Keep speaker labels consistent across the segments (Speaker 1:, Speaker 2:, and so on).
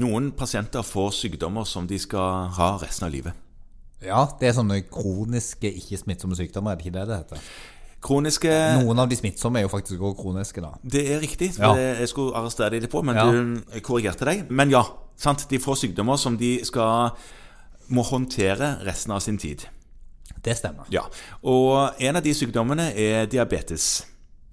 Speaker 1: Noen pasienter får sykdommer som de skal ha resten av livet.
Speaker 2: Ja, det er sånne kroniske ikke-smittsomme sykdommer, er det ikke det det heter?
Speaker 1: Kroniske
Speaker 2: Noen av de smittsomme er jo faktisk også kroniske, da.
Speaker 1: Det er riktig.
Speaker 2: Ja.
Speaker 1: Det, jeg skulle arrestere deg litt på, men
Speaker 2: Ja.
Speaker 1: du korrigerte deg. Men ja, sant? de får sykdommer som de skal må håndtere resten av sin tid.
Speaker 2: Det stemmer.
Speaker 1: Ja. Og en av de sykdommene er diabetes.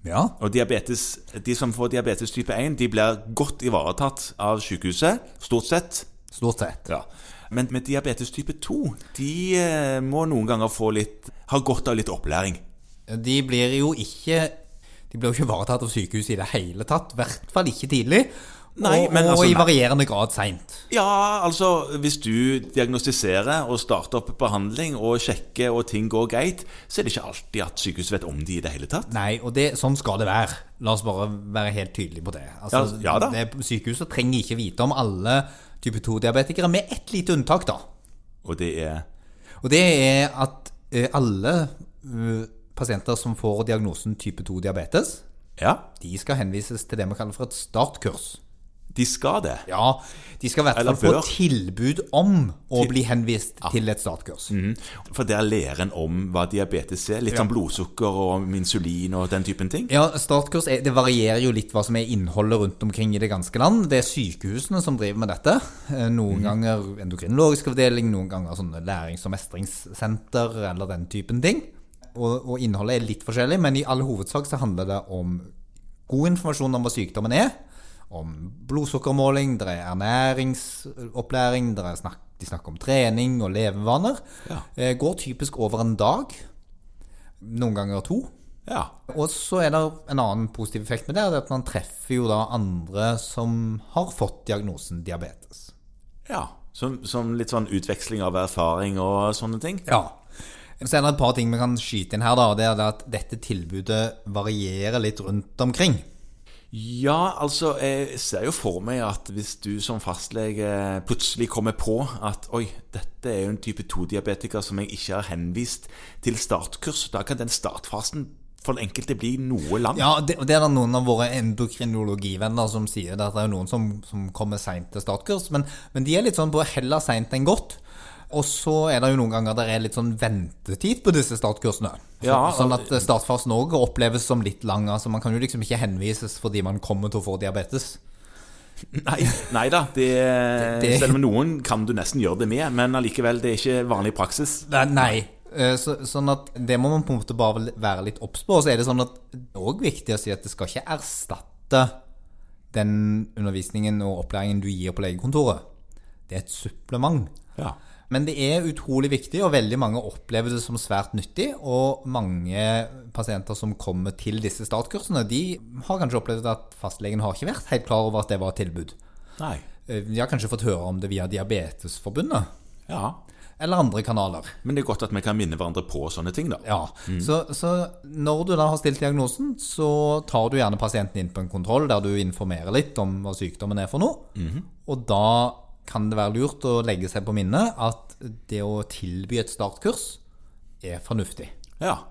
Speaker 2: Ja,
Speaker 1: Og diabetes, De som får diabetes type 1, de blir godt ivaretatt av sykehuset, stort sett.
Speaker 2: stort sett.
Speaker 1: Ja. Men med diabetes type 2, de eh, må noen ganger få litt, ha godt av litt opplæring.
Speaker 2: De blir jo ikke De blir jo ikke ivaretatt av sykehuset i det hele tatt. I hvert fall ikke tidlig.
Speaker 1: Nei,
Speaker 2: og
Speaker 1: men
Speaker 2: og
Speaker 1: altså,
Speaker 2: i
Speaker 1: nei.
Speaker 2: varierende grad seint.
Speaker 1: Ja, altså hvis du diagnostiserer og starter opp behandling og sjekker og ting går greit, så er det ikke alltid at sykehuset vet om de i det hele tatt.
Speaker 2: Nei, og det, sånn skal det være. La oss bare være helt tydelige på det. Altså,
Speaker 1: Ja, ja da.
Speaker 2: det sykehuset trenger ikke vite om alle type 2-diabetikere, med ett lite unntak, da.
Speaker 1: Og det er
Speaker 2: Og det er at eh, alle eh, pasienter som får diagnosen type 2-diabetes,
Speaker 1: Ja,
Speaker 2: de skal henvises til det vi kaller for et startkurs.
Speaker 1: de skal det.
Speaker 2: Ja, de skal i hvert
Speaker 1: Eller
Speaker 2: fall få
Speaker 1: bør.
Speaker 2: tilbud om å bli henvist til et startkurs.
Speaker 1: Mhm. For der lærer en om hva diabetes er. Litt sånn blodsukker og insulin og den typen ting.
Speaker 2: Ja, startkurs er, det varierer jo litt hva som er innholdet rundt omkring i det ganske land. Det er sykehusene som driver med dette. Eh,
Speaker 1: Mm.
Speaker 2: Noen ganger endokrinologisk avdeling, noen ganger sånne lærings- og mestringssenter eller den typen ting. Og, og innholdet er litt forskjellig, men i all hovedsak så handler det om god informasjon om hva sykdommen er, om blodsukkermåling, det er ernæringsopplæring, det er snakk, de snakker om trening og levevaner.
Speaker 1: Ja.
Speaker 2: Eh, Går typisk over en dag, noen ganger to.
Speaker 1: Ja.
Speaker 2: Og så er det en annen positiv effekt med det, det er at man treffer jo da andre som har fått diagnosen diabetes.
Speaker 1: ja. Som, som litt sånn utveksling av erfaring og sånne ting.
Speaker 2: Ja. Så er det et par ting vi kan skyte inn her, da. og Det er det at dette tilbudet varierer litt rundt omkring.
Speaker 1: Ja, altså, jeg ser jo for meg at hvis du som fastlege plutselig kommer på at oi, dette er jo en type 2-diabetiker som jeg ikke har henvist til startkurs, da kan den startfasen for den enkelte bli noe lang.
Speaker 2: Ja, det, og det er da noen av våre endokrinologivenner som sier det, at det er noen som, som kommer seint til startkurs, men, men de er litt sånn på heller seint enn godt. Og så er det jo noen ganger der er litt sånn ventetid på disse startkursene. Så,
Speaker 1: Ja,
Speaker 2: sånn at startfasen òg oppleves som litt lang. Altså man kan jo liksom ikke henvises fordi man kommer til å få diabetes.
Speaker 1: Nei, nei da, det,
Speaker 2: Det- det-
Speaker 1: selv om noen kan du nesten gjøre det med, men allikevel, det er ikke vanlig praksis.
Speaker 2: Nei. nei. Eh, Så, sånn at det må man på en måte bare være litt obs på. Og så er det sånn at det er òg viktig å si at det skal ikke erstatte den undervisningen og opplæringen du gir på legekontoret. Det er et supplement.
Speaker 1: Ja.
Speaker 2: Men det er utrolig viktig, og veldig mange opplever det som svært nyttig. Og mange pasienter som kommer til disse startkursene, de har kanskje opplevd at fastlegen har ikke vært helt klar over at det var et tilbud.
Speaker 1: Nei.
Speaker 2: Eh, De har kanskje fått høre om det via Diabetesforbundet
Speaker 1: Ja.
Speaker 2: eller andre kanaler.
Speaker 1: Men det er godt at vi kan minne hverandre på sånne ting, da.
Speaker 2: Ja, så, så når du da har stilt diagnosen, så tar du gjerne pasienten inn på en kontroll der du informerer litt om hva sykdommen er for noe. Og da kan det være lurt å legge seg på minnet at det å tilby et startkurs er fornuftig.
Speaker 1: Ja.